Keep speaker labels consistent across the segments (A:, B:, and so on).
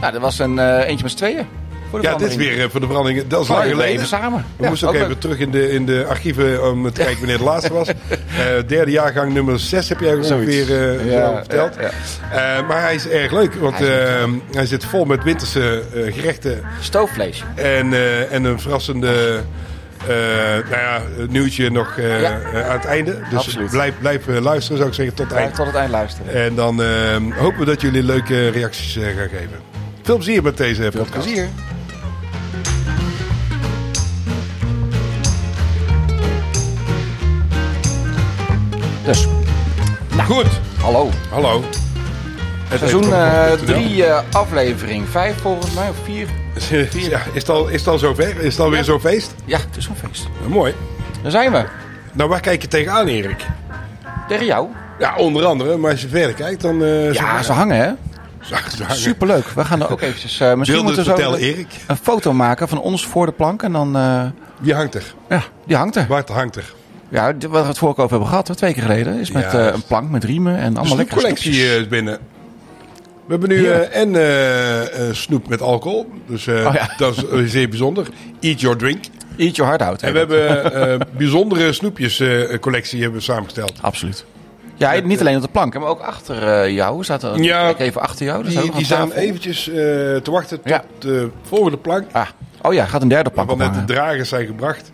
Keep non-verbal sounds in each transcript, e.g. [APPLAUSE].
A: Ja, dat was een eh, eentje met z'n tweeën. Voor de
B: Ja, dit is
A: verandering. Oh,
B: weer eh, voor de branding. Dat is
A: Maar
B: lang
A: we
B: geleden.
A: Even samen.
B: We
A: Ja,
B: moesten ook, even
A: leuk.
B: terug in de, in de archieven om te kijken wanneer de laatste
A: [LAUGHS]
B: was. Eh, derde jaargang nummer 6 heb jij ongeveer eh,
A: Ja,
B: zo verteld.
A: ja, ja.
B: Eh, maar hij is erg leuk, want
A: Hij is
B: eh, hij zit vol met winterse eh, gerechten
A: Stoofvlees.
B: en, eh, en een verrassende eh, nou ja, nieuwtje nog eh,
A: Ja.
B: eh, aan het einde. Dus
A: Absoluut.
B: blijf, blijf eh, luisteren, zou ik zeggen, tot het
A: Blijf
B: eind.
A: tot het eind luisteren.
B: En dan eh, hopen we dat jullie leuke reacties eh, gaan geven. Veel plezier met deze
A: Veel
B: podcast.
A: plezier. Dus,
B: Goed,
A: hallo.
B: hallo. Het
A: Seizoen
B: heet
A: eh
B: Popcorn.nl.
A: 3, aflevering 5 volgens mij, of 4.
B: [LAUGHS] Ja, is het al, is het al zover? Is het alweer
A: Ja.
B: zo'n feest?
A: Ja, het is een feest.
B: Nou, mooi.
A: Daar zijn we.
B: Nou, waar kijk je tegenaan, Erik?
A: Tegen jou.
B: Ja, onder andere, maar als je verder kijkt, dan... eh,
A: Ja,
B: zo-
A: ze hangen hè.
B: zo- zo hangen.
A: Superleuk. We gaan
B: [LAUGHS]
A: er ook eventjes... eh, misschien
B: Beelden
A: moeten we zo
B: vertellen,
A: een,
B: Erik.
A: een foto maken van ons voor de plank. En dan... eh,
B: Wie hangt er?
A: ja, die hangt er.
B: Bart hangt er.
A: Ja, d- waar we het vorige keer over hebben gehad, hè, twee keer geleden. Is met
B: Ja.
A: eh, een plank met riemen en allemaal
B: De
A: lekkere
B: collectie
A: snoepjes.
B: eh, is binnen. We hebben nu
A: Heerlijk.
B: eh, en eh, eh, snoep met alcohol. Dus eh,
A: Oh ja.
B: dat is eh, zeer bijzonder. Eat your drink.
A: Eat your heart out. hè.
B: eh? En we hebben eh bijzondere snoepjescollectie hebben we samengesteld.
A: Absoluut. Ja, niet alleen op de plank, hè, maar ook achter eh, jou. Staat er,
B: Ja.
A: Kijk even achter jou. daar staat
B: Die,
A: ook nog
B: die
A: een
B: staan
A: tafel.
B: eventjes eh, te wachten tot
A: Ja.
B: de volgende plank.
A: Ah. Oh ja, gaat een derde plank
B: Want net de
A: ophangen.
B: dragers zijn gebracht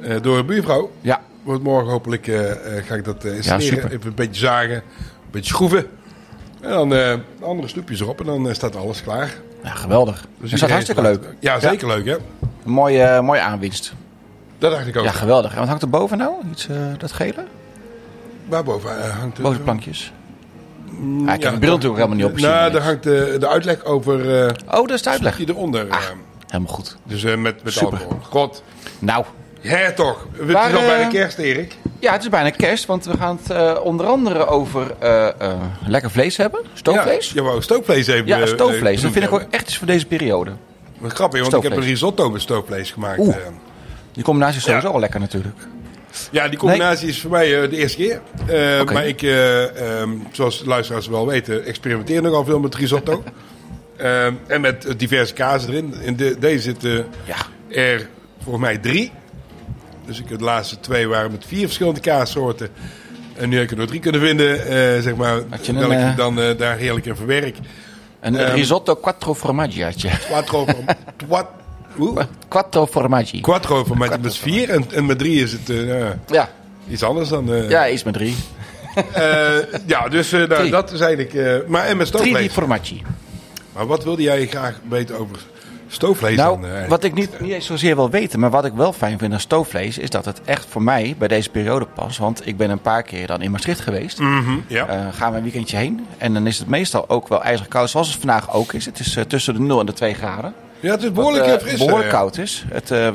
B: eh, door een buurvrouw.
A: Ja,
B: Want morgen hopelijk eh, eh, ga ik dat eh, installeren.
A: super.
B: Even een beetje zagen, een beetje schroeven. En dan eh, andere snoepjes erop en dan eh, staat alles klaar. Dus
A: ja geweldig. dat is
B: iedereen
A: hartstikke
B: blij.
A: leuk.
B: Ja, zeker leuk hè.
A: Een mooie, eh, mooie aanwinst.
B: Dat dacht ik ook.
A: Ja, geweldig. En wat hangt er boven nou? Iets, eh, dat gele?
B: Waarboven eh, hangt het?
A: Boze plankjes. Ah, ik heb de bril natuurlijk helemaal niet op gezien.
B: Mm, Nou, daar hangt eh, de uitleg over eh
A: Oh, dat is de uitleg.
B: die eronder. eh,
A: Helemaal goed.
B: dus eh, met, met
A: Ah. Super.
B: alcohol. God,
A: Nou,
B: hè toch. Het is
A: Waar,
B: al
A: eh,
B: bijna kerst, Erik.
A: Ja, het is bijna kerst, want we gaan het eh, onder andere over eh, eh, lekker vlees hebben. Stoofvlees?
B: Ja, je wou stoofvlees even
A: Ja,
B: eh,
A: stoofvlees. Dat
B: benoemd
A: vind ik ook
B: hebben.
A: echt iets voor deze periode.
B: Wat grappig, want ik heb
A: Stoofvlees.
B: een risotto met stoofvlees gemaakt.
A: Oeh.
B: eh.
A: Die combinatie is sowieso
B: Ja.
A: al lekker natuurlijk.
B: Ja, die combinatie is voor mij eh, de eerste keer. Eh,
A: Oké.
B: Maar ik, eh, ehm, zoals de luisteraars wel weten, experimenteer nogal veel met
A: [LAUGHS]
B: risotto. Ehm, en met eh, diverse kazen erin. In de, deze zitten
A: Ja.
B: er volgens mij drie. Dus ik, de laatste twee waren met vier verschillende kaassoorten. En nu heb ik er nog drie kunnen vinden, eh, zeg maar.
A: Had je een,
B: welke ik
A: eh,
B: dan eh, daar heerlijk in verwerk.
A: Een
B: Ehm.
A: risotto quattro formaggiaatje.
B: Quattro van... Twat, hoe?
A: [LAUGHS] Quattro formaggi.
B: Quattro van met, met vier en, en met drie is het eh, ja,
A: ja.
B: iets anders dan... eh,
A: ja, iets met drie.
B: Eh, ja, dus eh, nou,
A: Drie.
B: dat is eigenlijk. eh, maar en met
A: Drie die
B: stoofvlees.
A: formaggi.
B: Maar wat wilde jij graag weten over stoofvlees? dan,
A: Nou,
B: eh?
A: wat ik niet, niet eens zozeer wil weten, maar wat ik wel fijn vind aan stoofvlees... is dat het echt voor mij bij deze periode past. Want ik ben een paar keer dan in Maastricht geweest.
B: Mhm, ja.
A: Eh, gaan we een weekendje heen. En dan is het meestal ook wel ijzig koud, zoals het vandaag ook is. Het is eh, tussen de 0 en de 2 graden.
B: ja, het is behoorlijk
A: Eh,
B: eh, fris.
A: behoorlijk
B: eh.
A: koud is. Het, eh,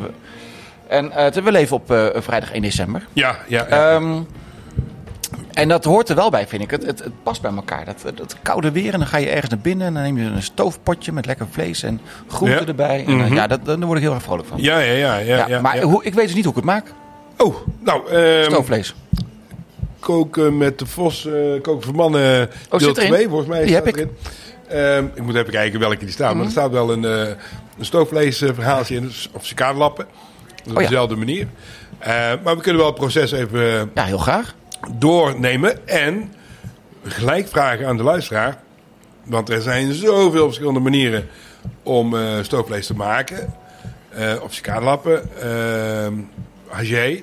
A: en eh, het- we leven op eh, vrijdag 1 december.
B: Ja, ja. ja.
A: Ehm, en dat hoort er wel bij, vind ik. Het, het, het past bij elkaar. Dat, dat koude weer en dan ga je ergens naar binnen... en dan neem je een stoofpotje met lekker vlees en groenten
B: Ja.
A: erbij. En, eh, ja, dat, daar word ik heel erg vrolijk van.
B: ja, ja, ja, ja,
A: Ja,
B: ja,
A: maar
B: ja.
A: Hoe, ik weet dus niet hoe ik het maak,
B: Oh, nou, ehm,
A: stoofvlees.
B: koken met de Vos, eh, koken voor mannen,
A: Oh,
B: deel
A: zit erin?
B: 2, volgens mij
A: Die
B: staat
A: heb ik. Mhm.
B: erin. Ehm, ik moet even kijken welke die staan, maar er staat wel een, eh een stoofvleesverhaaltje in, dus- of cicadelappen, op
A: Oh ja.
B: dezelfde manier. Eh, maar we kunnen wel het proces even eh,
A: Ja, heel graag.
B: doornemen en gelijk vragen aan de luisteraar. Want er zijn zoveel verschillende manieren om eh, stoofvlees te maken. Eh of cicaanlappen, ehm hagé.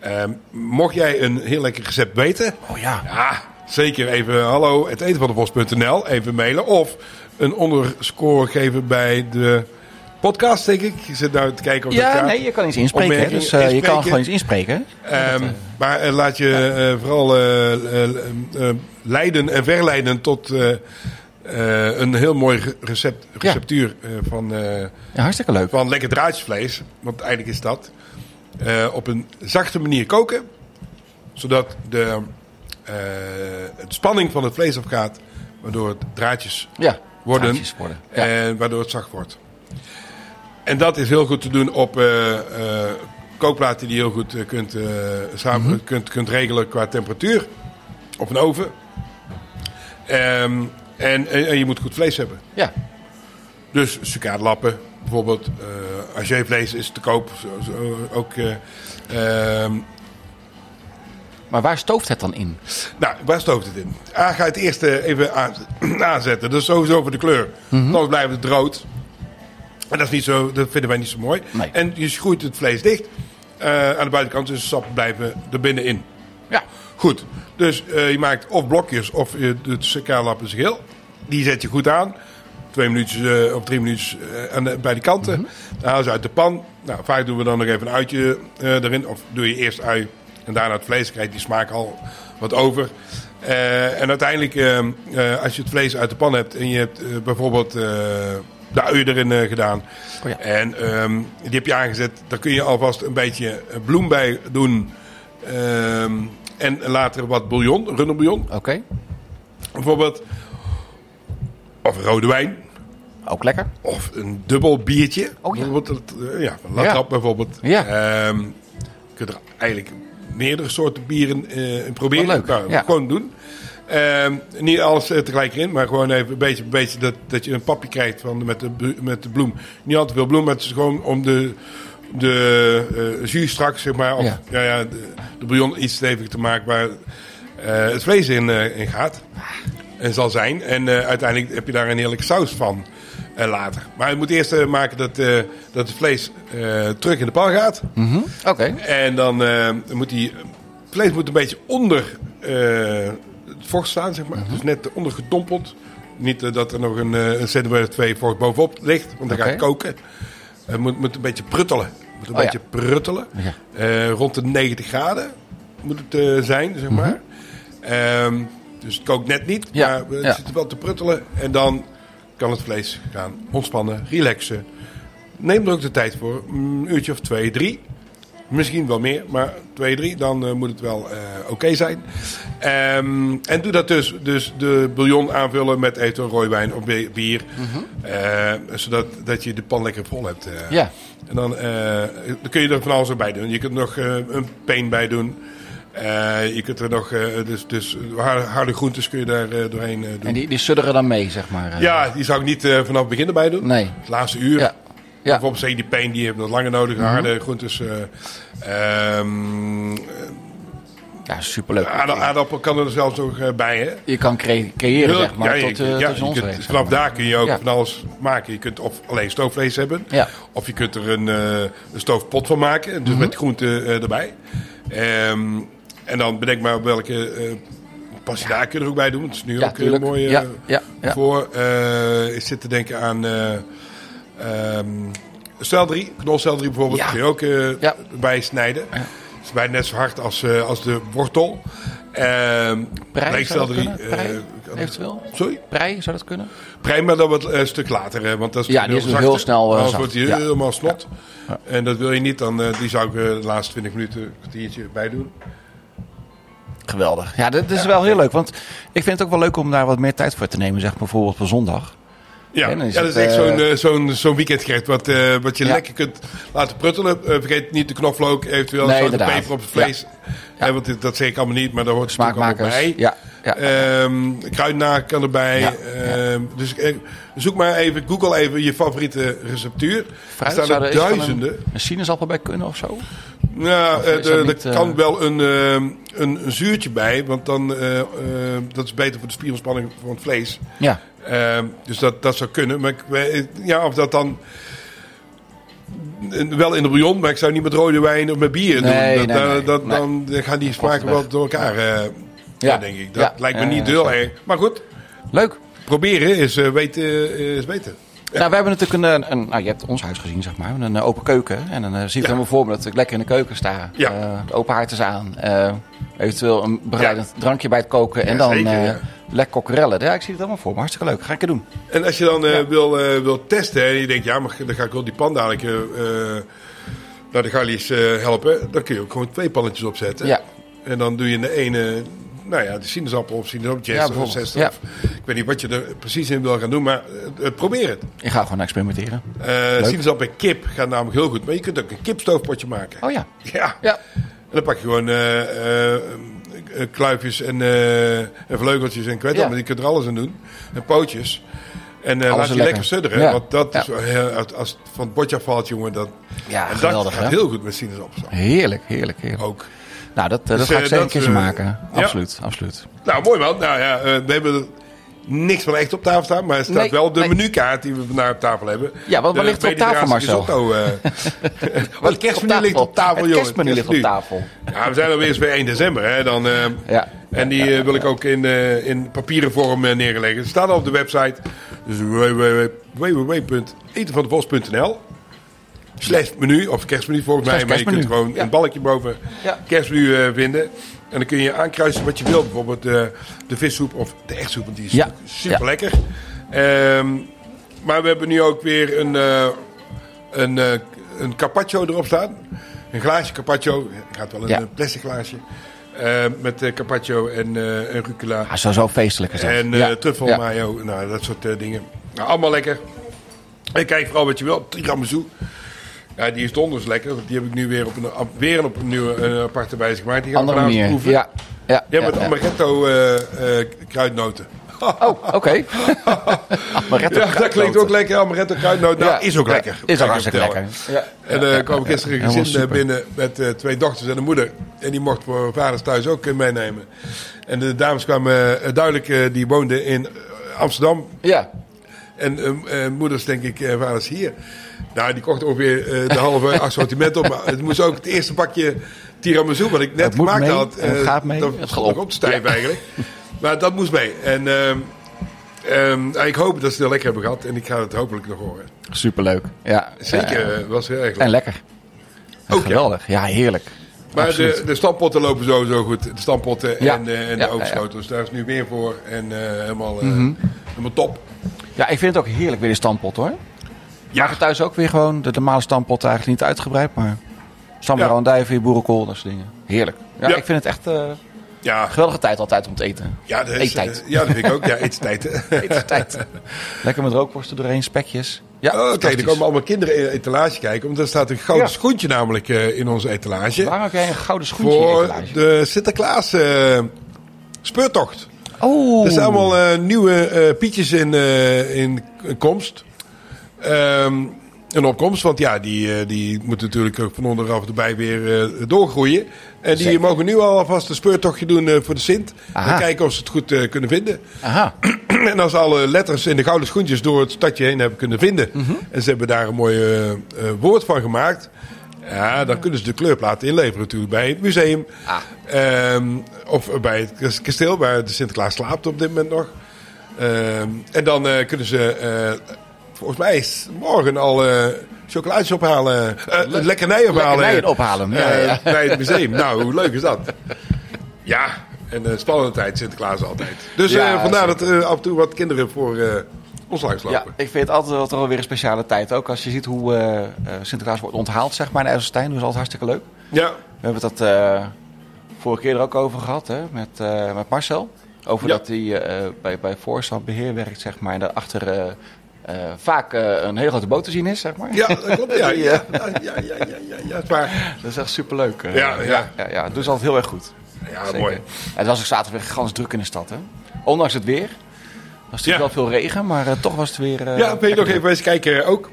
B: Ehm, mocht jij een heel lekker recept weten?
A: Oh ja.
B: Ja, zeker even hallo het eten van de vos.nl, even mailen. Of een onderscore geven bij de podcast, denk ik. Ik zit nou te kijken of dat
A: Ja,
B: gaat.
A: nee, je kan iets inspreken. hè.
B: Opmerking,
A: Dus eh, je
B: inspreken.
A: kan gewoon iets inspreken.
B: Ehm, maar eh, laat je eh, vooral eh, eh, eh, leiden en verleiden tot eh, eh, een heel mooi ge- recept, receptuur eh, van, eh,
A: Ja, hartstikke leuk.
B: van lekker draadjesvlees. Want eigenlijk is dat eh, op een zachte manier koken. Zodat de eh, het spanning van het vlees afgaat. Waardoor het draadjes
A: Ja,
B: worden. Eh.
A: draadjes worden. Ja.
B: En waardoor het zacht wordt. En dat is heel goed te doen op eh, eh, kookplaten die je heel goed eh, kunt, eh, samen,
A: Mhm.
B: kunt, kunt regelen qua temperatuur. Op een oven. Ehm, en, en, en je moet goed vlees hebben.
A: ja.
B: Dus sukaatlappen, bijvoorbeeld. eh Angervlees is te koop. Zo, zo, ook, eh, ehm,
A: Maar waar stooft het dan in?
B: nou, waar stookt het in? Ah, ga het eerst eh, even aan- [CLEARS THROAT] aanzetten. Dat is sowieso voor de kleur. Anders blijft het rood. En dat, is niet zo, dat vinden wij niet zo mooi.
A: Nee.
B: En je groeit het vlees dicht. eh, aan de buitenkant, dus de sap blijven er binnenin.
A: Ja.
B: Goed, dus eh, je maakt of blokjes of je doet suikerlap is geel. Die zet je goed aan. Twee minuutjes eh, of drie minuutjes eh, aan de- bij de kanten.
A: Mhm.
B: Dan haal ze uit de pan. Nou, vaak doen we dan nog even een uitje eh, erin. Of doe je eerst ui en daarna het vlees. Krijg je die smaak al wat over. Eh, en uiteindelijk, eh, eh, als je het vlees uit de pan hebt en je hebt eh, bijvoorbeeld eh, de ui erin eh, gedaan.
A: Oh ja.
B: En ehm, die heb je aangezet. Daar kun je alvast een beetje eh, bloem bij doen. Ehm, en later wat bouillon, runderbouillon
A: Oké.
B: bijvoorbeeld. Of rode wijn.
A: Ook lekker.
B: Of een dubbel biertje.
A: Oh ja.
B: Bijvoorbeeld, dat, eh, ja, een latrap
A: Ja.
B: bijvoorbeeld.
A: Ja.
B: Ehm, je kunt er eigenlijk meerdere soorten bieren eh, in proberen.
A: Wat leuk,
B: Nou,
A: ja.
B: Gewoon doen. Ehm, niet alles eh, tegelijk in, maar gewoon even een beetje, een beetje dat, dat je een papje krijgt van, met, de, bu- met de bloem. Niet altijd veel bloem, maar het is gewoon om de, de eh jus straks, zeg maar, of
A: Ja.
B: ja. Ja, de, de bouillon iets steviger te maken waar eh, het vlees in, eh, in gaat. En zal zijn. En eh, uiteindelijk heb je daar een heerlijke saus van eh, later. Maar je moet eerst eh, maken dat, eh, dat het vlees eh, terug in de pan gaat.
A: Oké.
B: En dan eh, moet die het vlees moet een beetje onder eh, het vocht staan, zeg maar.
A: Mhm.
B: Dus net onder gedompeld. Niet eh, dat er nog een, eh, een centimeter of twee vocht bovenop ligt, want dan
A: Oké.
B: gaat het koken. Het moet, moet een beetje pruttelen. Het moet een
A: Oh, ja.
B: beetje pruttelen.
A: Ja.
B: Eh, rond de 90 graden moet het eh, zijn, zeg maar. Ehm, dus het kookt net niet,
A: Mhm. Ja,
B: maar het
A: ja.
B: zit er wel te pruttelen. En dan kan het vlees gaan ontspannen, relaxen. Neem er ook de tijd voor, Mm, een uurtje of twee, drie. Misschien wel meer, maar twee, drie, dan eh, moet het wel eh, oké zijn. Ehm, en doe dat dus, dus de bouillon aanvullen met eventueel rooiwijn of bi- bier. Eh, zodat dat je de pan lekker vol hebt. eh.
A: Mhm. Ja.
B: En dan, eh, dan kun je er van alles bij doen. Je kunt er nog eh, een peen bij doen. Eh, je kunt er nog, eh, dus, dus harde, harde groentes kun je daar eh, doorheen eh, doen.
A: En die, die sudderen dan mee, zeg maar. eh.
B: Ja, die zou ik niet eh, vanaf het begin erbij doen.
A: Nee.
B: Het laatste uur.
A: Ja. Ja.
B: Bijvoorbeeld zeg je die peen, die hebben dat langer nodig.
A: Mhm.
B: Harde groentes. eh, ehm,
A: ja, superleuk.
B: aarda- aardappel kan er zelfs nog eh, bij, hè?
A: Je kan cre- creëren, zeg maar,
B: je-
A: tot, eh
B: ja,
A: tot
B: je
A: ons
B: kunt-
A: recht, zeg
B: Vanaf
A: maar.
B: daar kun je ook
A: Ja.
B: van alles maken. Je kunt of alleen stoofvlees hebben.
A: Ja. Mhm.
B: Of je kunt er een, eh, een stoofpot van maken. Dus met groenten eh, erbij. Ehm, en dan bedenk maar welke eh pasta kun je er ook bij doen. Het is nu
A: Ja,
B: ook heel
A: tuurlijk.
B: mooi eh,
A: Ja, ja, ja.
B: voor. eh ik zit te denken aan... eh ehm selderij, knolselderij bijvoorbeeld.
A: Ja.
B: Kun je ook eh,
A: Ja.
B: bij snijden. Het is bijna net zo hard als, eh, als de wortel. Ehm
A: Prei zou dat
B: leekselderij,
A: kunnen? Prei,
B: eh, kan-
A: eventueel?
B: Sorry?
A: Prei, zou dat kunnen?
B: Prei, maar dan wat eh, een stuk later. Hè, want dat is
A: Ja, die is heel snel, eh,
B: Anders
A: zacht.
B: wordt die
A: Ja.
B: helemaal snot. En dat wil je niet. Dan, eh, die zou ik eh, de laatste 20 minuten een kwartiertje bij doen.
A: Geweldig. Ja, dat is wel heel leuk. Want ik vind het ook wel leuk om daar wat meer tijd voor te nemen. Zeg bijvoorbeeld op een zondag.
B: Ja,
A: En
B: ja,
A: dan is
B: dat
A: het,
B: is echt
A: eh,
B: zo'n, eh, zo'n, zo'n weekendgerecht wat, eh, wat je
A: Ja.
B: lekker kunt laten pruttelen. Eh, vergeet niet de knoflook, eventueel
A: Nee,
B: zout en
A: inderdaad.
B: peper op het vlees. Eh, want dit- dat zeg ik allemaal niet, maar daar hoort het natuurlijk allemaal
A: Smaakmakers.
B: bij.
A: Ja, ja.
B: Ehm, kruidnaak kan erbij.
A: Ja,
B: Ehm, Dus eh, zoek maar even, google even je favoriete receptuur.
A: Fruit
B: er staan
A: zou
B: er
A: er iets van
B: duizenden.
A: Een, een sinaasappel bij kunnen of zo?
B: Nou,
A: Of is
B: eh,
A: dat
B: er-
A: niet,
B: er
A: eh,
B: kan wel een, ehm, een, een zuurtje bij, want dan, eh, eh, dat is beter voor de spierontspanning van het vlees.
A: Ja.
B: Ehm, dus dat, dat zou kunnen. Maar ik, weet- ja, of dat dan. Wel in de bouillon, maar ik zou niet met rode wijn of met bier
A: Nee,
B: doen. Dat,
A: nee, nee,
B: dat,
A: nee.
B: Dan gaan die smaken wel door elkaar. eh, ja.
A: Ja.
B: denk ik. Dat
A: Ja.
B: lijkt me
A: Ja,
B: niet
A: ja,
B: heel
A: zeker.
B: erg. Maar goed,
A: Leuk.
B: proberen is, eh, weten, is beter.
A: Nou, we hebben natuurlijk een, eh, een, nou, je hebt ons huis gezien, zeg maar. We hebben Een eh, open keuken. En dan eh, zie ik
B: Ja.
A: helemaal voor me dat ik lekker in de keuken sta.
B: Ja.
A: Eh, de open haard is aan. Eh, eventueel een bereidend drankje bij het koken. En dan
B: zeker,
A: eh,
B: ja.
A: lekker kokkerellen. Ja, ik zie het allemaal voor me. Hartstikke leuk. Ga ik het doen.
B: En als je dan eh, wil, eh, wil testen hè, en je denkt, ja, maar dan ga ik wel die pan dadelijk eh, eh, naar de gallies eh, helpen. Dan kun je ook gewoon twee pannetjes opzetten.
A: Ja.
B: En dan doe je in de ene, nou ja, de sinaasappel of sinaasappel,
A: Ja,
B: jester of
A: bijvoorbeeld.
B: zester.
A: Ja.
B: Of, ik weet niet wat je er precies in wil gaan doen, maar eh, eh, probeer het.
A: Ik ga gewoon experimenteren.
B: Eh, sinaasappel en kip gaat namelijk heel goed. Maar je kunt ook een kipstoofpotje maken.
A: Oh ja.
B: Ja.
A: Ja.
B: En dan pak je gewoon eh, eh, eh, kluifjes en, eh en vleugeltjes en kwetten.
A: Ja.
B: Maar je kunt er alles aan doen. En pootjes. En eh, laat
A: Alles
B: je
A: lekker.
B: lekker sudderen.
A: Ja.
B: Want dat
A: Ja.
B: is, eh, als- als het van het bordje afvalt, jongen, dat,
A: Ja,
B: en dat
A: geweldig,
B: gaat
A: hè?
B: heel goed met sinaasappelsap.
A: Heerlijk, heerlijk, heerlijk.
B: Ook.
A: Nou, dat, eh, dat
B: Oh. eh,
A: ga ik zeker
B: dat,
A: een keertje
B: eh,
A: maken.
B: ja.
A: Absoluut, absoluut.
B: Nou, mooi man. Nou ja, eh, we hebben er niks van echt op tafel staan, maar het staat
A: Nee,
B: wel op de
A: nee.
B: menukaart die we vandaar op tafel hebben.
A: Ja, wat- wat
B: De
A: ligt er op tafel,
B: mediterrane
A: Marcel? [LAUGHS]
B: risotto, eh. het kerstmenu ligt op tafel,
A: Het
B: jongen.
A: kerstmenu ligt op
B: Kerstmenu.
A: tafel.
B: Ja, we zijn alweer eens bij 1 december. Hè? Dan, eh,
A: Ja.
B: En die eh, wil ik ook in, eh, in papieren vorm eh, neerleggen. Het staat al op de website. Dus www.etenvandevos.nl Slash menu, of kerstmenu volgens mij.
A: Slash
B: Maar je kunt
A: kerstmenu.
B: gewoon
A: Ja.
B: een balkje boven
A: Ja.
B: kerstmenu eh, vinden. En dan kun je aankruisen wat je wilt. Bijvoorbeeld eh, de vissoep of de echtsoep. Want die is
A: Ja.
B: super lekker. maar we hebben nu ook weer een... eh, een, eh een carpaccio erop staan. Een glaasje carpaccio. Gaat wel in
A: Ja.
B: een plastic glaasje. Eh, met eh, carpaccio en, eh en rucola.
A: Ah, sowieso feestelijk is dat.
B: en eh
A: Ja,
B: truffel
A: ja.
B: mayo. Nou, dat soort eh, dingen. Nou, allemaal lekker. En kijk vooral wat je wil. Tiramisu. Ja, die is donders lekker. want Die heb ik nu weer op een, op- weer op een nieuwe een aparte wijze gemaakt. Die gaan we
A: Andere
B: vanavond
A: manier.
B: proeven.
A: Ja, ja,
B: Die
A: ja,
B: hebben
A: ja.
B: met amaretto eh, eh, kruidnoten.
A: [LAUGHS] Oh,
B: [LAUGHS]
A: oké. Amaretto
B: Ja, dat klinkt
A: kruidnoten.
B: ook lekker. Amaretto kruidnoten. Nou,
A: Ja.
B: is ook
A: Ja,
B: lekker. Kan
A: Is
B: ik
A: ook
B: je
A: hartstikke
B: vertellen.
A: lekker. Ja.
B: En eh kwam ik gisteren een
A: Helemaal
B: gezin eh,
A: super.
B: binnen met eh, twee dochters en een moeder. En die mocht voor vaders thuis ook eh, meenemen. En de dames kwamen eh, duidelijk, eh, die woonden in eh, Amsterdam.
A: Ja.
B: En eh, eh, moeders, denk ik, eh, vaders hier. Nou, die kocht ongeveer eh, de
A: [LAUGHS]
B: halve assortiment op. Maar het moest ook het eerste pakje tiramisu, wat ik net
A: Het moet
B: gemaakt
A: mee,
B: had.
A: het
B: eh,
A: gaat mee,
B: Dat
A: het
B: het
A: gaat
B: op.
A: op.
B: te
A: [LAUGHS]
B: stijf eigenlijk. Maar dat moest mee. En ehm, ehm, nou, ik hoop dat ze het lekker hebben gehad. En ik ga het hopelijk nog horen.
A: Superleuk. Ja.
B: Zeker,
A: Ja.
B: eh, was heel erg leuk.
A: En lekker.
B: Ook, ja.
A: Geweldig. Ja, heerlijk.
B: Maar
A: Absoluut.
B: de, de stampotten lopen sowieso goed. De stampotten
A: Ja.
B: en, eh,
A: Ja,
B: en
A: Mhm.
B: de overschotels. Daar is nu weer voor. En eh, helemaal, eh, helemaal top.
A: Ja, ik vind het ook heerlijk weer de stampot hoor.
B: Ja,
A: Maar thuis ook weer gewoon de normale stampot eigenlijk niet uitgebreid, maar sambal
B: Ja.
A: en duiven, boerenkool, dat soort dingen. Heerlijk. Ja,
B: Ja.
A: ik vind het echt eh,
B: ja,
A: geweldige tijd altijd om te eten.
B: ja, dat is,
A: Eettijd.
B: eh, ja, dat vind ik ook. Ja, eetstijd.
A: [LAUGHS]
B: hè. [LAUGHS]
A: Tijd. Lekker met rookworsten doorheen, spekjes. Ja,
B: Oh, Oké, er
A: fantastisch.
B: komen allemaal kinderen in de etalage kijken. Want er staat een gouden
A: Ja.
B: schoentje namelijk eh, in onze etalage.
A: Waarom heb jij een gouden schoentje in je
B: Voor
A: etalage?
B: de Sinterklaas eh, speurtocht.
A: Oh,
B: Er zijn allemaal eh, nieuwe eh, pietjes in, eh, in komst. Ehm in opkomst, want ja, die, eh, die moeten natuurlijk ook van onderaf erbij weer eh, doorgroeien. En die
A: Zeker.
B: mogen nu al alvast een speurtochtje doen eh, voor de Sint.
A: Aha.
B: En kijken of ze het goed eh, kunnen vinden.
A: aha.
B: [CLEARS THROAT] en als ze alle letters in de gouden schoentjes door het stadje heen hebben kunnen vinden.
A: Mhm.
B: En ze hebben daar een mooi eh, eh, woord van gemaakt. Ja, dan kunnen ze de kleurplaat inleveren natuurlijk bij het museum.
A: Ah.
B: Ehm, of bij het kas- kasteel waar de Sinterklaas slaapt op dit moment nog. Ehm, en dan eh, kunnen ze, eh, volgens mij is morgen al eh chocolaatjes ophalen. eh lekkernijen ophalen.
A: lekkernijen ophalen, ja,
B: Eh,
A: ja.
B: Bij het museum. nou, hoe leuk is dat? Ja, en eh, spannende tijd Sinterklaas altijd. Dus eh,
A: Ja,
B: vandaar dat er af en toe wat kinderen voor eh, ons langs
A: Ja,
B: lopen.
A: ik vind het altijd wel toch wel weer een speciale tijd. Ook als je ziet hoe eh, eh, Sinterklaas wordt onthaald, zeg maar, in IJsselstein. Dat is altijd hartstikke leuk.
B: Ja,
A: We hebben het dat eh, vorige keer er ook over gehad, hè, met, eh, met Marcel. Over
B: Ja.
A: dat hij eh, bij, bij voorstand beheer werkt, zeg maar. En daarachter eh, eh, vaak eh, een hele grote boot te zien is, zeg maar.
B: ja, dat klopt. Ja,
A: Die,
B: [LAUGHS] ja, ja, ja, ja, ja, ja, ja, is waar.
A: Dat is echt superleuk. eh.
B: Ja, ja.
A: ja, ja. Dat doen ze altijd heel erg goed.
B: Ja,
A: Zeker.
B: mooi.
A: En het was ook zaterdag weer gans druk in de stad, hè. Ondanks het weer. Er was natuurlijk
B: Ja.
A: wel veel regen, maar eh, toch was het weer... eh,
B: Ja, ben je nog even eens kijken eh, ook?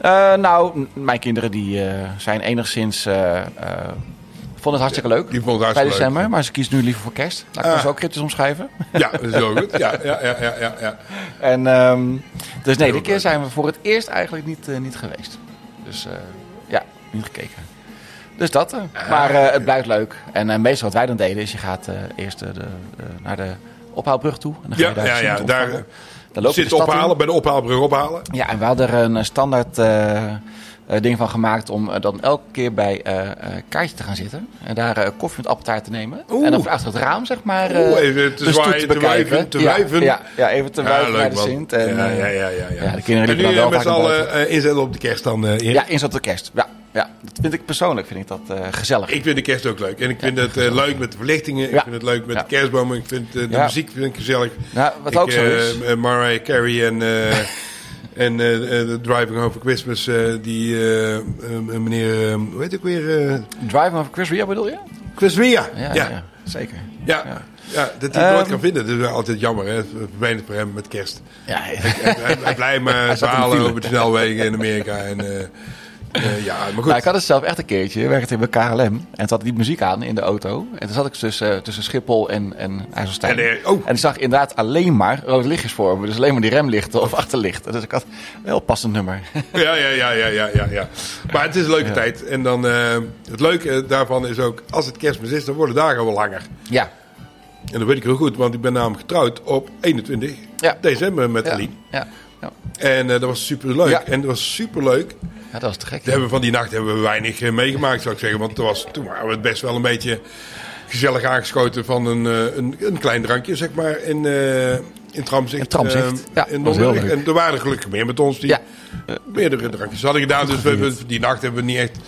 A: Eh, nou, m- mijn kinderen die eh, zijn enigszins. eh eh, vonden het hartstikke leuk.
B: Die vond het
A: bij
B: hartstikke
A: december, maar ze kiezen nu liever voor kerst. Nou, ik kan
B: Ah.
A: ze ook kritisch omschrijven.
B: leuk. Ja, dat is wel goed. Ja, ja, ja, ja, ja, ja.
A: En, ehm, dus nee,
B: Heel
A: die keer
B: leuk.
A: zijn we voor het eerst eigenlijk niet, eh, niet geweest. Dus eh, ja, niet gekeken. Dus dat. eh. maar eh, het blijft leuk. En eh, meestal wat wij dan deden is je gaat eh, eerst eh, de, eh, naar de ophaalbrug toe. En dan ga je
B: Ja,
A: daar
B: ja,
A: Sint
B: ja,
A: ontvangen.
B: daar,
A: dan loop je de
B: Zit
A: stad in.
B: ophalen, bij de ophaalbrug ophalen.
A: Ja, en we hadden er een eh, standaard eh, eh, ding van gemaakt om eh, dan elke keer bij eh eh, Kaartje te gaan zitten. En daar eh, koffie met appeltaart te nemen.
B: Oeh.
A: En dan achter het raam, zeg maar, eh,
B: Oeh, even te
A: de stoet
B: zwaaien, te
A: bekijken.
B: wuiven, te
A: Ja,
B: wuiven.
A: Ja, ja, even te wuiven
B: leuk,
A: naar de
B: man.
A: Sint. En,
B: ja,
A: eh,
B: ja, ja, ja, ja.
A: ja, de kinderen
B: en
A: liepen
B: nu
A: dan
B: eh,
A: wel
B: met
A: vaak
B: z'n
A: naar
B: allen eh, inzetten op de kerst dan, eh Erik?
A: ja, in zat de kerst. Ja, ja, dat vind ik persoonlijk vind ik dat eh, gezellig.
B: Ik vind de kerst ook leuk. En ik vind het eh, leuk met de verlichtingen. Ik
A: Ja.
B: vind het leuk met
A: Ja.
B: de kerstbomen. Ik vind eh, de
A: Ja.
B: muziek vind ik gezellig.
A: Nou, wat
B: ik,
A: ook zo
B: eh,
A: is.
B: eh, Mariah Carey
A: [LAUGHS]
B: en, eh, en eh, eh, de Driving Home for Christmas. eh, die eh, eh, meneer, eh, hoe heet ik weer? eh
A: Driving over Chris Ria bedoel je?
B: Chris Ria.
A: Ja, Ehm, ja. zeker.
B: Ja.
A: Ja.
B: Ja, dat hij het nooit kan vinden. Dat is wel altijd jammer. Hè? Vervelend voor hem met kerst.
A: [LAUGHS] Ja,
B: Hij- Hij hij blijft maar
A: zat in de
B: verhalen
A: file.
B: over de snelwegen in Amerika. En, eh, eh, ja, maar
A: Nou,
B: goed.
A: ik had het zelf echt een keertje. Ik werkte bij KLM. En toen had ik die muziek aan in de auto. En toen zat ik tussen, eh, tussen Schiphol en, en IJsselstein.
B: En, eh, oh.
A: en ik zag inderdaad alleen maar rode lichtjes voor me. Dus alleen maar die remlichten of achterlichten. Dus ik had een heel passend nummer.
B: [LAUGHS] Ja, ja, ja, ja, ja, ja, ja. Maar het is een leuke tijd. En dan, eh, het leuke daarvan is ook, als het kerstmis is, dan worden de dagen wel langer.
A: ja.
B: En dat weet ik heel goed, want ik ben namelijk getrouwd op 21
A: Ja.
B: december met
A: Ja.
B: Aline.
A: Ja. ja.
B: En eh, dat was superleuk.
A: Ja.
B: En dat was superleuk.
A: Ja, dat was te gek.
B: Dat hebben we van die nacht hebben we weinig eh, meegemaakt, zou ik zeggen. Want er was, toen waren we het best wel een beetje gezellig aangeschoten van een, eh, een, een klein drankje, zeg maar, in, eh in Tramzicht.
A: In Tramzicht,
B: eh,
A: ja,
B: in
A: dat was heel
B: Donderdag.
A: leuk.
B: En er waren er gelukkig meer met ons die
A: Ja.
B: meerdere drankjes hadden gedaan. Dus we hebben, die nacht hebben we niet echt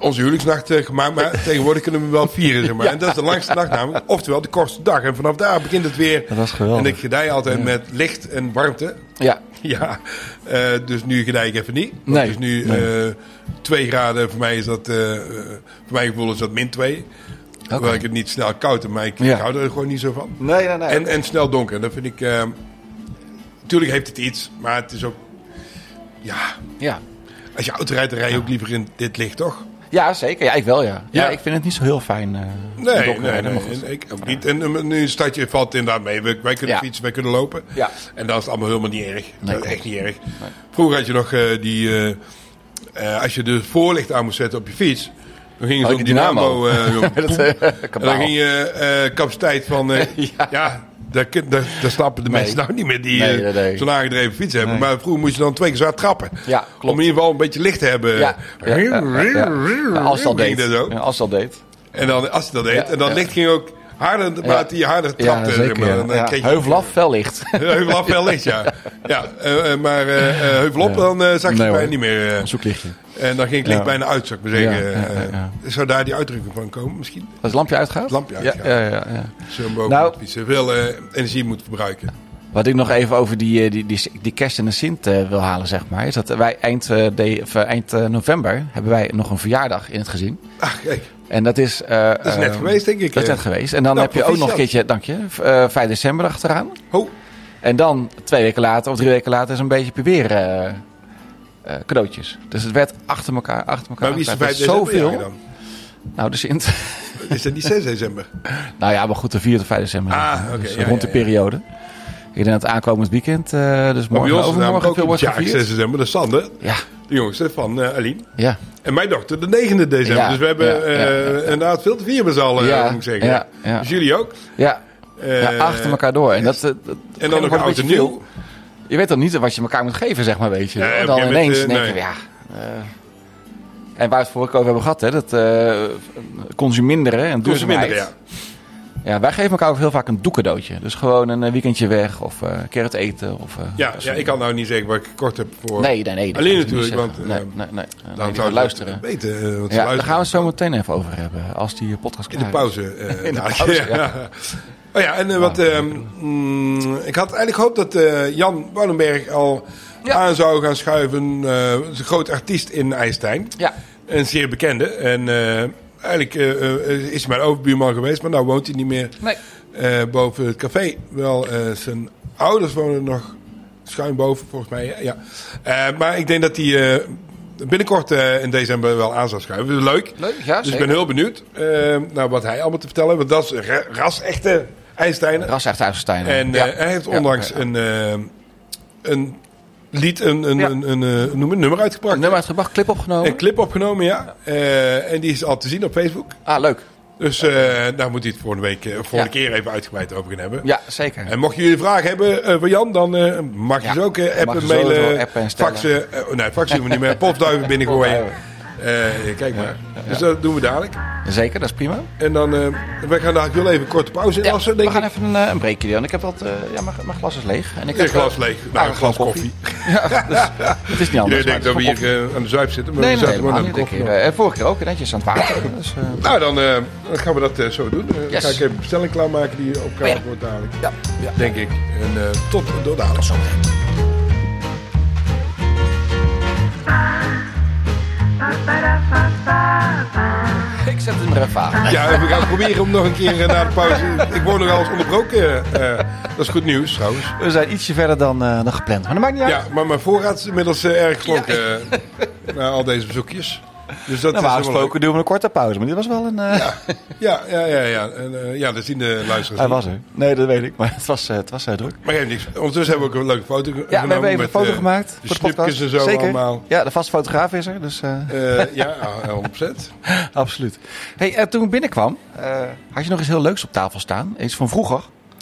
B: onze huwelijksnacht eh,
A: [LAUGHS]
B: gemaakt. Maar tegenwoordig kunnen we hem wel vieren, zeg maar. En dat is de langste nacht namelijk. Oftewel de kortste dag. En vanaf daar begint het weer.
A: Dat was geweldig.
B: En ik gedij altijd met licht en warmte. [LAUGHS]
A: Ja.
B: Ja, eh, dus nu gedij ik even niet.
A: Nee,
B: Het is nu eh 2 graden, voor mij is dat, eh, eh, voor mijn gevoel is dat min 2. Hoewel ik het niet snel koud heb, maar ik, ik
A: Ja.
B: hou er gewoon niet zo van.
A: Nee, nee, nee.
B: En, en snel donker, dat vind ik... eh, tuurlijk heeft het iets, maar het is ook... Ja,
A: ja.
B: als je auto rijdt, dan rij je ook liever in dit licht, toch?
A: ja, zeker. Ja, ik wel, ja. ja.
B: Ja.
A: ik vind het niet zo heel fijn. eh, in
B: Nee,
A: donker
B: nee,
A: rijden,
B: nee,
A: maar goed.
B: en ik ook niet. En eh, nu staat je valt inderdaad mee. We- wij kunnen
A: Ja.
B: fietsen, wij kunnen lopen.
A: Ja.
B: En dat is allemaal helemaal niet erg. dat
A: klopt.
B: is echt niet erg. Vroeger had je nog eh, die... eh, eh, als je de voorlicht aan moest zetten op je fiets... Dan ging
A: Oh,
B: je zo'n
A: die [LAUGHS]
B: dynamo... eh, joh,
A: Dat,
B: poep.
A: eh,
B: en dan
A: kabaal.
B: ging je eh, capaciteit van... eh, ja,
A: [LAUGHS] Ja.
B: daar, kun- daar, daar snappen de
A: Nee.
B: mensen nou niet meer die
A: Nee,
B: eh,
A: nee, nee.
B: zo'n aangedreven fiets hebben. Maar vroeger moest je dan twee keer zwaar trappen.
A: Ja,
B: Om
A: klopt.
B: in ieder geval een beetje licht te hebben.
A: Ja, ja, ja, ja, ja. Ja, als dat
B: Ging
A: deed.
B: dat zo.
A: Ja, als dat deed.
B: En dan, als hij dat deed,
A: Ja,
B: en dan
A: ja.
B: licht ging ook harder, naarmate hij harder trapte. zeg maar. Dan, eh,
A: ja.
B: kreeg je- [LAUGHS]
A: Heuvelaf, fel licht.
B: Heuvel af wel licht, ja. ja eh, eh, maar eh, eh, heuvel op, dan eh, zag je
A: Nee,
B: het bijna
A: hoor.
B: niet meer. eh.
A: Zoeklichtje.
B: en dan ging het licht
A: Ja.
B: bijna uit, zou ik maar zeggen.
A: Ja, ja, ja,
B: Eh,
A: ja.
B: Zou daar die uitdrukking van komen misschien?
A: Als het lampje uitgaat? Het
B: lampje uitgaat.
A: Ja, ja, ja, ja.
B: Zo'n boven
A: Nou.
B: het fietsen. Veel eh, energie moet verbruiken.
A: Wat ik nog even over die, eh, die, die, die kerst en de Sint eh, wil halen, zeg maar. Is dat wij eind, eh, de- of, eh, eind eh, november hebben wij nog een verjaardag in het gezin.
B: Ach, Ah, kijk.
A: En dat is... eh,
B: Dat is net
A: eh,
B: geweest, denk ik.
A: Dat is
B: eh.
A: net geweest. En dan
B: Nou,
A: heb je ook nog een
B: proficiat.
A: keertje, dank je, v- eh, 5 december achteraan.
B: Ho,
A: En dan twee weken later of drie weken later is een beetje heb je weer eh, eh, cadeautjes. Dus het werd achter elkaar, achter elkaar.
B: maar wie is de
A: achter
B: 5
A: elkaar.
B: december jarig
A: Zoveel.
B: dan?
A: Nou, de Sint. [LAUGHS]
B: Is dat niet 6 december?
A: Nou ja, maar goed, de 4 tot 5 december.
B: Ah, oké,
A: Dus
B: ja,
A: rond
B: ja,
A: de
B: ja.
A: periode. Ik denk dat aankomend weekend, eh, dus
B: Maar bij
A: morgen
B: ons is namelijk
A: overmorgen
B: ook
A: veel wordt
B: ja, 6
A: gevierd.
B: december. Dat is Sander,
A: Ja,
B: de jongste van eh, Aline.
A: ja,
B: En mijn dochter de 9e december.
A: Ja,
B: dus we hebben
A: ja, ja,
B: eh,
A: ja, ja.
B: inderdaad veel te vieren met z'n allen,
A: Ja,
B: moet ik zeggen.
A: ja, ja.
B: Dus jullie ook.
A: ja.
B: Eh,
A: ja achter elkaar door. En, dat, eh, dat-
B: En
A: dat
B: dan nog
A: wordt een
B: oud en
A: beetje
B: nieuw.
A: veel. Je weet dan niet wat je elkaar moet geven, zeg maar, weet je.
B: Ja,
A: en
B: op
A: dan
B: een gegeven
A: ineens
B: moment,
A: denk je,
B: eh,
A: ja... eh, en waar we het vorige keer over hebben gehad, hè, dat eh, consuminderen en
B: Toen ze
A: duurzaamheid.
B: minder, ja.
A: Ja, wij geven elkaar ook heel vaak een doekendootje. Dus gewoon een eh, weekendje weg of eh, een keer het eten. Of, eh,
B: Ja,
A: dat
B: ja,
A: soort-
B: ik kan nou niet zeggen wat ik kort heb voor...
A: Nee, nee, nee. dat
B: Alleen
A: kan ik niet
B: natuurlijk,
A: zeggen.
B: want,
A: Nee,
B: eh,
A: nee, nee, nee,
B: Dan
A: die
B: zou
A: moet
B: ik
A: luisteren.
B: het weten. eh, want ze
A: Ja, daar
B: luisteren
A: gaan we het zo meteen even over hebben. Als die podcast
B: In
A: klaar
B: de
A: is.
B: pauze. eh,
A: [LAUGHS] In de
B: dadelijk.
A: pauze,
B: [LAUGHS] Oh ja, en eh, wat... ehm, mm, ik had eigenlijk gehoopt dat eh, Jan Woudenberg al
A: Ja.
B: aan zou gaan schuiven. eh is een groot artiest in IJstijn.
A: Ja,
B: Een zeer bekende. En eh, eigenlijk eh, eh, is hij mijn overbuurman geweest, maar nou woont hij niet meer
A: nee.
B: eh, boven het café. Wel, eh, zijn ouders wonen nog schuin boven, volgens mij. Ja. Eh, maar ik denk dat hij eh, binnenkort eh, in december wel aan zou schuiven. Dus Leuk.
A: Leuk, ja,
B: dus ik
A: zeker.
B: ben heel benieuwd eh, naar wat hij allemaal te vertellen heeft. Want dat is ra- ras echte IJstijnen.
A: Ras uit IJsselstein.
B: En eh,
A: ja.
B: hij heeft
A: Ja,
B: onlangs
A: ja.
B: een, eh, een lied, een, een,
A: Ja.
B: een, een, eh, noem het, nummer uitgebracht.
A: Een nummer uitgebracht, clip opgenomen.
B: Een clip opgenomen, ja. Eh, en die is al te zien op Facebook.
A: Ah, leuk.
B: Dus eh, daar moet hij het volgende, week, eh, volgende
A: Ja.
B: keer even uitgebreid over gaan hebben.
A: Ja, zeker.
B: En mocht jullie vragen hebben eh voor Jan, dan eh, mag je
A: Ja,
B: ze ook eh,
A: mag
B: appen,
A: je ze
B: mailen,
A: wel appen en stellen.
B: faxen. eh, nee, faxen doen we niet meer. Postduiven binnengooien.
A: Postduiven.
B: Eh, kijk maar. Dus dat doen we dadelijk.
A: Zeker, dat is prima.
B: En dan, eh wij gaan dadelijk wel even een korte pauze
A: Ja,
B: inlassen,
A: we
B: denk
A: gaan
B: ik.
A: even een, eh, een breakje doen. Ik heb wat... eh, ja, mijn, mijn glas is leeg. En ik
B: Een
A: heb wel-
B: glas leeg. Nou, een
A: een
B: glas
A: kop
B: koffie.
A: Het is niet
B: Jullie
A: anders. maar
B: denken dat
A: het
B: we
A: is
B: hier
A: gewoon
B: eh, aan de zuip zitten, maar
A: koffie. Nee, nee,
B: we zaten
A: helemaal
B: gewoon aan
A: niet.
B: de
A: Een
B: koffie.
A: keer, eh, vorige keer ook netjes aan het water. Dus,
B: [LAUGHS]
A: eh,
B: Nou, dan eh, dan gaan we dat eh, zo doen. Eh, dan
A: Yes.
B: ga ik even bestelling klaarmaken die opgehaald
A: Oh ja.
B: wordt dadelijk.
A: ja, ja.
B: Denk ik. En eh, tot door dadelijk.
C: Ba-ba-da-ba-ba-ba.
A: Ik zet het maar even aan.
B: Ja, we gaan proberen om nog een keer eh, na de pauze. Ik word nogal eens onderbroken. eh, eh, dat is goed nieuws trouwens.
A: We Eh, zijn ietsje verder dan, eh, dan gepland. Maar dat maakt niet uit.
B: Ja, maar mijn voorraad is inmiddels eh, erg geslonken eh, na al deze bezoekjes. Dus dat
A: Normaal
B: is helemaal
A: gesproken doen we een korte pauze. Maar dit was wel een... eh,
B: leuk. Ja, ja, ja, ja. En, eh, ja, dat zien de luisteraars
A: [LAUGHS] Hij
B: niet.
A: was er. Nee, dat weet ik. Maar het was, eh, het was eh, druk.
B: Maar geeft niks. Ondertussen hebben we ook een leuke foto ge-
A: Ja,
B: genomen.
A: we hebben even een
B: met,
A: foto
B: eh,
A: gemaakt.
B: De
A: voor de podcast.
B: snipjes en zo
A: Zeker.
B: allemaal.
A: Ja, de vaste fotograaf is er. Dus eh,
B: Eh, ja, 100%.
A: [LAUGHS] absoluut. Hey, eh, toen ik binnenkwam, eh, had je nog iets heel leuks op tafel staan. Iets van vroeger.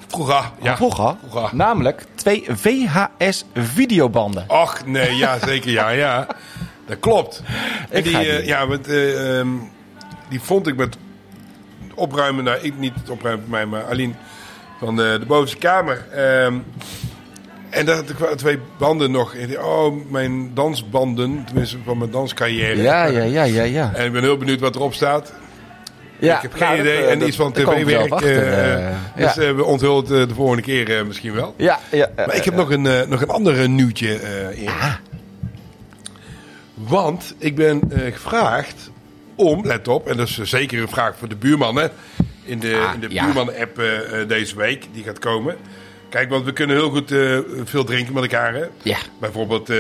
B: Vroeger.
A: Van
B: Ja.
A: vroeger.
B: Vroeger.
A: Namelijk twee VHS-videobanden.
B: Och, nee, ja, zeker, ja, ja. Dat klopt. En
A: Ik
B: die,
A: ga
B: eh,
A: niet.
B: ja, want, eh, ehm, die vond ik met opruimen, nou, ik niet het opruimen voor mij, maar Aline van de, de bovenste kamer. ehm, en daar had ik wel twee banden nog. in. Oh, mijn dansbanden, tenminste van mijn danscarrière.
A: Ja, ja, ja, ja, ja.
B: En ik ben heel benieuwd wat erop staat.
A: ja
B: ik heb geen
A: nou, dat,
B: idee.
A: eh,
B: en
A: dat-
B: iets van
A: daar komen we zelf
B: tv-werk.
A: achter,
B: eh,
A: eh,
B: dus
A: ja.
B: eh, we onthullen het eh, de volgende keer eh, misschien wel.
A: ja, ja, eh,
B: Maar ik heb nog een, eh, nog een ander nieuwtje, eh Erik. Want ik ben eh, gevraagd om, let op, en dat is eh, zeker een vraag voor de buurmannen. In de,
A: Ah,
B: in de
A: ja.
B: buurman-app eh, eh, deze week, die gaat komen. Kijk, want we kunnen heel goed eh, veel drinken met elkaar. Hè?
A: Ja.
B: Bijvoorbeeld eh,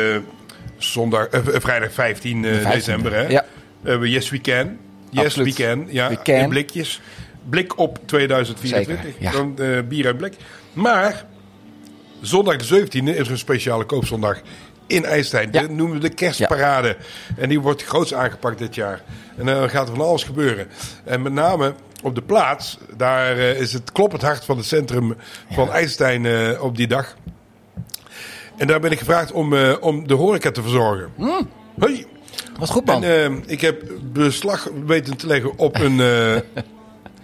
B: zondag, eh, v- vrijdag 15 eh,
A: 15e,
B: december. Hè? Eh,
A: ja.
B: We hebben yes We Can. Yes
A: Absoluut.
B: We Can. Ja,
A: We can.
B: in blikjes. Blik op 2024.
A: Zeker, ja.
B: Dan eh, bier uit blik. Maar Zondag de 17e is er een speciale koopzondag in IJsselstein.
A: Ja.
B: Dat noemen we de kerstparade. En die wordt groots aangepakt dit jaar. En dan gaat er van alles gebeuren. En met name op de plaats, daar eh, is het kloppend hart van het centrum van IJsselstein eh, op die dag. En daar ben ik gevraagd om, eh, om de horeca te verzorgen.
A: Hmm.
B: Hoi.
A: Wat goed,
B: En
A: man.
B: eh, ik heb beslag weten te leggen op
A: [LAUGHS]
B: een, eh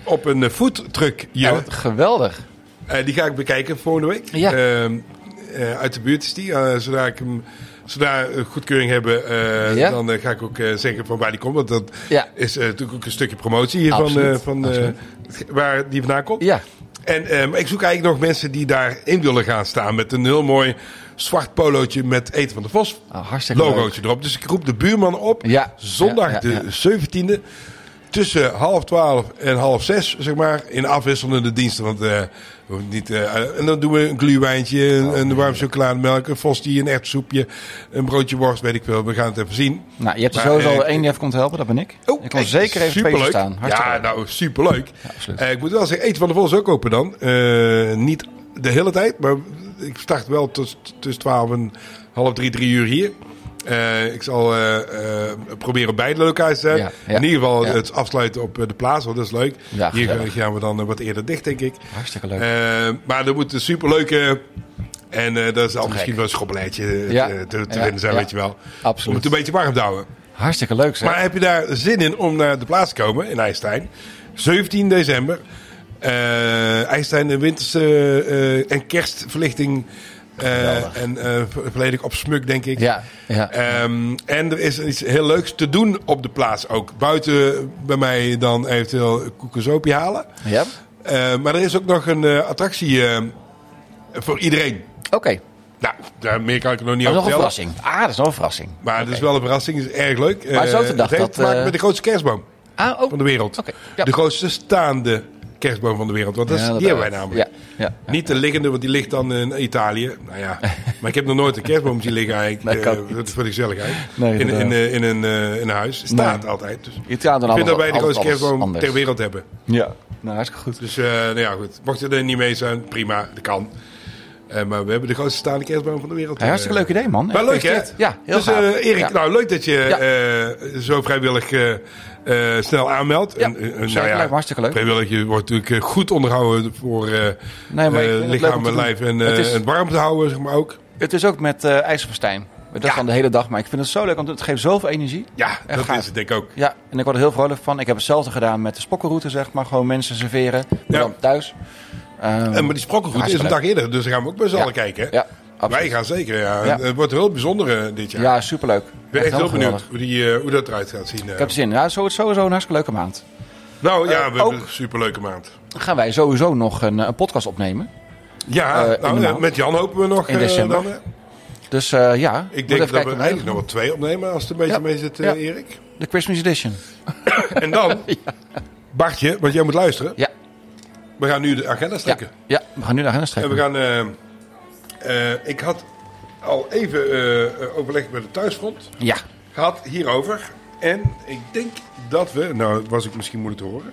B: op een eh, foodtruck.
A: Ja,
B: hier.
A: wat geweldig.
B: Eh, die ga ik bekijken volgende week.
A: Ja.
B: Ehm, eh, uit de buurt is die. Eh, zodra ik hem zodra we goedkeuring hebben, eh,
A: Ja.
B: dan eh, ga ik ook eh, zeggen van waar die komt. Want dat
A: Ja.
B: is eh, natuurlijk ook een stukje promotie hier van,
A: Absoluut.
B: eh, van eh, waar die vandaan komt.
A: Ja.
B: En eh, maar ik zoek eigenlijk nog mensen die daarin willen gaan staan met een heel mooi zwart polootje met Eten van de Vos
A: Oh, hartstikke leuk.
B: logootje erop. Dus ik roep de buurman op.
A: Ja.
B: Zondag
A: Ja, ja, ja.
B: de 17e. Tussen half twaalf en half zes, zeg maar. In afwisselende diensten. Want eh, we hoeven niet, eh, en dan doen we een gluwijntje,
A: Oh,
B: een, een warm chocolademelk, een fostie, een ertsoepje, een broodje worst, weet ik veel. We gaan het even zien.
A: Nou, je hebt er
B: Maar,
A: sowieso
B: eh,
A: één die even komt helpen, dat ben ik. ik kon
B: hey,
A: zeker even
B: Oh, superleuk.
A: feest staan. Hartstikke
B: Ja,
A: leuk.
B: nou, superleuk.
A: absoluut.
B: Eh, ik moet wel zeggen, Eten van de Vos is ook open dan. Eh, niet de hele tijd, maar ik start wel tussen tussen 12 en half drie, drie uur hier. Eh, ik zal eh, eh, proberen op beide locaties te zijn.
A: Ja, ja.
B: In ieder geval
A: Ja.
B: het afsluiten op eh, de plaats, want dat is leuk.
A: Ja,
B: hier
A: gezellig.
B: gaan we dan eh, wat eerder dicht, denk ik.
A: Hartstikke leuk.
B: Eh, maar er moet een superleuke... En eh dat is al misschien
A: gek.
B: wel een schobbeleidje eh,
A: Ja.
B: te, te
A: Ja,
B: vinden zijn,
A: ja.
B: weet je wel.
A: Absoluut.
B: Om het een beetje warm te houden.
A: Hartstikke leuk, zeg.
B: Maar heb je daar zin in om naar de plaats te komen in IJstein? 17 december. Eh IJstein de winterse eh, en kerstverlichting. eh, en eh, vo- volledig op smuk, denk ik.
A: ja, ja.
B: Ehm, en er is iets heel leuks te doen op de plaats ook. Buiten bij mij dan eventueel koekenzopie halen.
A: ja?
B: Eh, maar er is ook nog een eh, attractie eh, voor iedereen.
A: Oké.
B: Nou, daar meer kan ik er nog niet
A: Dat is
B: over
A: nog een
B: vertellen.
A: verrassing. Ah, dat is nog een verrassing.
B: Maar het is wel een verrassing, het is erg leuk.
A: Maar zo
B: Eh,
A: te dacht
B: het heeft
A: dat,
B: te maken
A: eh,
B: met de grootste kerstboom
A: Ah, ook.
B: van de wereld.
A: Oké, ja.
B: De grootste staande kerstboom van de wereld. Want dat is,
A: Ja,
B: die
A: dat-
B: hebben wij namelijk.
A: Ja, ja.
B: Niet de liggende, want die ligt dan in Italië. Nou
A: [LAUGHS]
B: ja, maar ik heb nog nooit een kerstboom zien liggen
A: Nee,
B: eigenlijk.
A: kan
B: Eh, dat is voor de gezelligheid.
A: Nee,
B: in, in,
A: inderdaad.
B: eh, in, een, eh, in een huis. Staat
A: Nee.
B: altijd. Dus ik
A: Italiaan doen
B: vind dat
A: altijd-
B: wij de grootste
A: altijd alles
B: kerstboom
A: anders.
B: ter wereld hebben.
A: Ja, nou, hartstikke goed.
B: Dus eh, nou ja, goed. Mocht je er niet mee zijn, prima. Dat kan. Eh, maar we hebben de grootste staande kerstboom van de wereld.
A: Hey, hartstikke
B: Eh,
A: leuk idee, man.
B: maar leuk, hè?
A: Gefeliciteerd. Ja, heel
B: dus,
A: gaaf.
B: eh, Erik,
A: Ja.
B: nou, leuk dat je
A: Ja.
B: eh, zo vrijwillig eh, eh, snel aanmeldt.
A: Ja,
B: En, eh, eh,
A: zeker, lijkt me hartstikke leuk.
B: Vrijwillig, je wordt natuurlijk eh, goed onderhouden voor eh
A: Nee, maar ik vind
B: eh,
A: het
B: lichaam
A: leuk
B: en
A: om te
B: lijf
A: doen.
B: en, eh,
A: Het is-
B: en warm te houden, zeg maar ook.
A: Het is ook met eh ijzerfestijn. Dat
B: Ja.
A: kan de hele dag, maar ik vind het zo leuk, want het geeft zoveel energie.
B: Ja,
A: Echt
B: dat
A: gaaf. Mm.
B: is het denk ik ook.
A: Ja, en ik word er heel vrolijk van. Ik heb hetzelfde gedaan met de spokkenroute, zeg maar. Gewoon mensen serveren, maar
B: Ja.
A: dan thuis. Ehm,
B: En, Eh, maar die sprokkengoed is een
A: Hartstikke
B: dag eerder, dus daar gaan we ook bij z'n
A: Ja.
B: allen kijken. hè?
A: ja,
B: Wij
A: absoluut.
B: gaan zeker, ja.
A: Ja.
B: Het wordt heel bijzonder eh, dit jaar.
A: Ja, superleuk.
B: Ik ben echt heel
A: helemaal
B: benieuwd
A: geweldig.
B: hoe, die, eh, hoe dat eruit gaat zien. eh.
A: Ik heb zin. Ja, het is sowieso een hartstikke leuke maand.
B: nou ja,
A: eh,
B: we hebben
A: ook-
B: een superleuke maand.
A: Dan gaan wij sowieso nog een, eh, een podcast opnemen.
B: Ja,
A: Eh,
B: nou,
A: in de
B: eh,
A: maand.
B: met Jan hopen we nog.
A: In
B: eh,
A: december.
B: dan, hè?
A: Dus eh, ja, moet
B: Ik denk dat
A: even
B: we
A: kijken.
B: eigenlijk nog wel twee opnemen als het een beetje
A: Ja. [LAUGHS]
B: mee zit, eh,
A: Ja.
B: Erik.
A: De Christmas Edition.
B: en dan, Bartje, want jij moet luisteren.
A: Ja.
B: We gaan nu de agenda
A: Ja,
B: strekken.
A: ja, we gaan nu naar agenda
B: En we
A: strekken.
B: gaan. eh, eh, ik had al even eh, overleg met het thuisfront
A: Ja,
B: gehad hierover. En ik denk dat we. Nou, was ik misschien moeilijk te horen.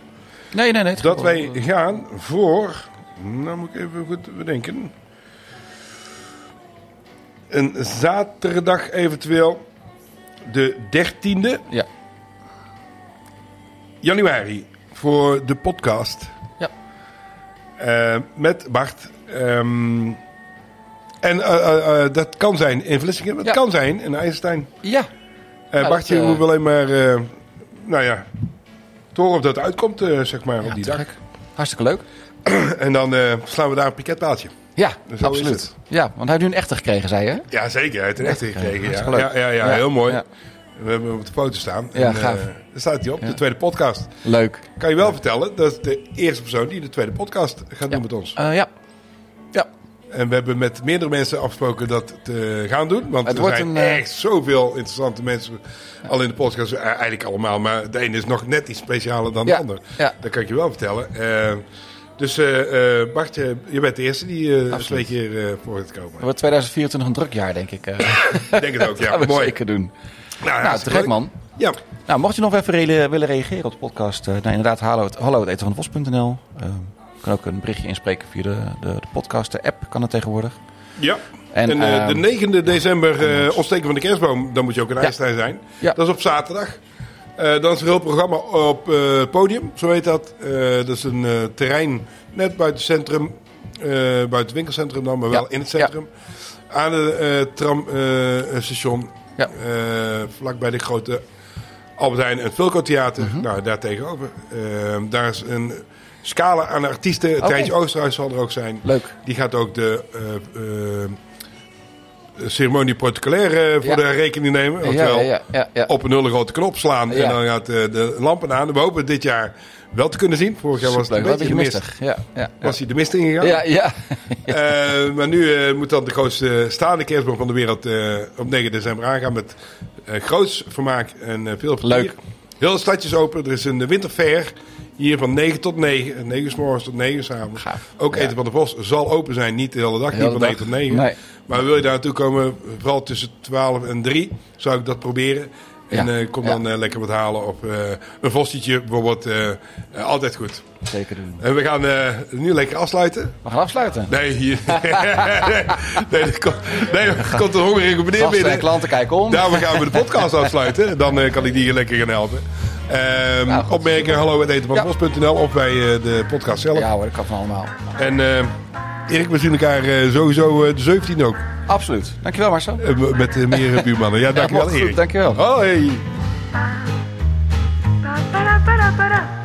A: nee, nee, nee. het
B: Dat
A: gaat
B: wij
A: wel.
B: gaan voor. Nou, moet ik even goed bedenken. Een zaterdag eventueel. De 13e
A: Ja,
B: januari. Voor de podcast.
A: ja,
B: Eh, met Bart. Ehm, en eh, eh, eh, dat kan zijn in Vlissingen, maar het
A: Ja.
B: kan zijn in IJsselstein.
A: ja.
B: Eh
A: Ja,
B: Bartje
A: dat, eh,
B: moet wel alleen maar, eh, nou ja, te horen of dat uitkomt, eh, zeg maar, op
A: Ja,
B: die
A: te
B: dag.
A: gek. Hartstikke leuk.
B: En dan eh, slaan we daar een piketpaaltje.
A: Ja,
B: is
A: absoluut.
B: het.
A: Ja, want hij heeft nu een echte gekregen, zei je? hè?
B: Ja, zeker. Hij heeft een echte gekregen. Ja.
A: hartstikke leuk.
B: Ja, ja, ja,
A: Ja,
B: heel mooi.
A: ja.
B: We hebben hem op de foto staan.
A: Ja,
B: eh,
A: gaaf.
B: daar staat hij op, de tweede podcast.
A: Leuk.
B: Kan je wel vertellen, dat is de eerste persoon die de tweede podcast gaat doen met ons.
A: Eh, ja. Ja,
B: En we hebben met meerdere mensen afgesproken dat te gaan doen. Want
A: Het
B: er
A: wordt
B: zijn
A: een, eh,
B: echt zoveel interessante mensen al in de podcast. Eh, Eigenlijk allemaal, maar de ene is nog net iets specialer dan
A: Ja,
B: de ander.
A: ja.
B: Dat kan ik je wel vertellen. Eh, dus eh, eh, Bart, je, je bent de eerste die eh twee keer eh, voor het komen.
A: [LAUGHS] het wordt 2024 een druk jaar, denk ik. eh.
B: Ik denk het ook, ja.
A: gaan we
B: Mooi.
A: zeker doen.
B: Nou,
A: Nou,
B: hartstikke
A: te gek,
B: leuk.
A: man.
B: Ja,
A: Nou, mocht je nog even rele- willen reageren op de podcast, eh nou, inderdaad, hallo, het- hallo het eten van de vos.nl. Eh, je kan ook een berichtje inspreken via de, de, de podcast, de app kan het tegenwoordig.
B: ja. En,
A: En,
B: eh,
A: ehm,
B: de 9e december eh, ontsteken van de kerstboom. Dan moet je ook in
A: Ja.
B: IJsselstein zijn.
A: Ja.
B: Dat is op zaterdag. Eh dan is er een heel programma op eh, podium, zo heet dat. Eh, dat is een eh, terrein net buiten het centrum. eh, buiten het winkelcentrum dan, maar wel
A: Ja.
B: in het centrum. Aan eh, het tramstation.
A: Ja.
B: vlakbij eh, de grote Albert Heijn en het Vulco Theater.
A: Mhm.
B: Nou, daar tegenover. Eh, daar is een scala aan artiesten. Okay. Tijntje Oosterhuis zal er ook zijn.
A: Leuk.
B: Die gaat ook de eh, eh, ceremonie protocolair eh, voor
A: Ja.
B: de rekening nemen. Oftewel,
A: ja, ja.
B: op een hele grote knop slaan.
A: Ja.
B: En dan gaat eh, de lampen aan. We hopen dit jaar wel te kunnen zien. Vorig jaar was het een
A: Superleuk,
B: beetje
A: wel
B: gemist.
A: Ja, ja, ja.
B: Was hij de mist ingegaan?
A: Ja, ja. [LAUGHS]
B: Eh, maar nu eh, moet dan de grootste staande kerstboom van de wereld eh, op 9 december aangaan met eh groots vermaak en eh, veel plezier.
A: Leuk.
B: Heel het stadje is open. Er is een winterfair hier van 9 tot 9. Eh, 9 uur s morgens tot 9 uur s'avonds.
A: Gaaf.
B: Ook
A: Ja.
B: Eten van de Bos zal open zijn. Niet de hele dag,
A: Heel
B: niet van
A: de
B: 9 tot
A: dag.
B: 9.
A: Nee.
B: Maar wil je daar naartoe komen, vooral tussen 12 en 3, zou ik dat proberen. En
A: Ja.
B: eh, kom
A: Ja.
B: dan eh, lekker wat halen of eh, een vostietje bijvoorbeeld. eh, eh, altijd goed.
A: Zeker doen.
B: En we gaan eh, nu lekker afsluiten.
A: We gaan afsluiten.
B: Nee, hier. [LAUGHS] nee, dat komt, nee, er komt een hongerige meneer
A: Gasten en
B: binnen.
A: klanten kijken om.
B: Daarom gaan we de podcast afsluiten. Dan eh, kan ik die hier lekker gaan helpen. Ehm,
A: Nou, goed.
B: opmerken, hallo, etenvanbos.nl of bij eh, de podcast zelf.
A: Ja hoor, dat kan van allemaal.
B: En eh, Erik, we zien elkaar eh, sowieso eh, de 17e ook.
A: Absoluut. Dankjewel Marcel.
B: Eh, met eh, meer eh, buurmannen. Ja, dankjewel
A: mocht goed,
B: Erik.
A: dankjewel.
B: Hoi.
C: Ba-ba-da-ba-da-ba-da.